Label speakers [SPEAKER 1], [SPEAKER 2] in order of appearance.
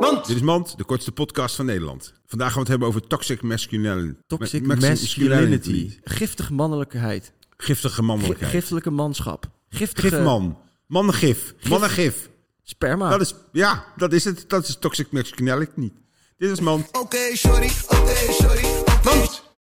[SPEAKER 1] Mand! Dit is Mand, de kortste podcast van Nederland. Vandaag gaan we het hebben over toxic masculinity.
[SPEAKER 2] Toxic
[SPEAKER 1] Ma- maxi-
[SPEAKER 2] masculinity. Giftig mannelijkheid.
[SPEAKER 1] Giftige
[SPEAKER 2] Gi-
[SPEAKER 1] mannelijkheid.
[SPEAKER 2] Giftelijke manschap. Giftige Ah.
[SPEAKER 1] Gifman. Mannengif. Mannengif.
[SPEAKER 2] sperma.
[SPEAKER 1] Dat is, ja, dat is het. Dat is toxic masculinity. Dit is Mand.
[SPEAKER 3] Okay, shorty, okay, shorty.
[SPEAKER 1] Mand!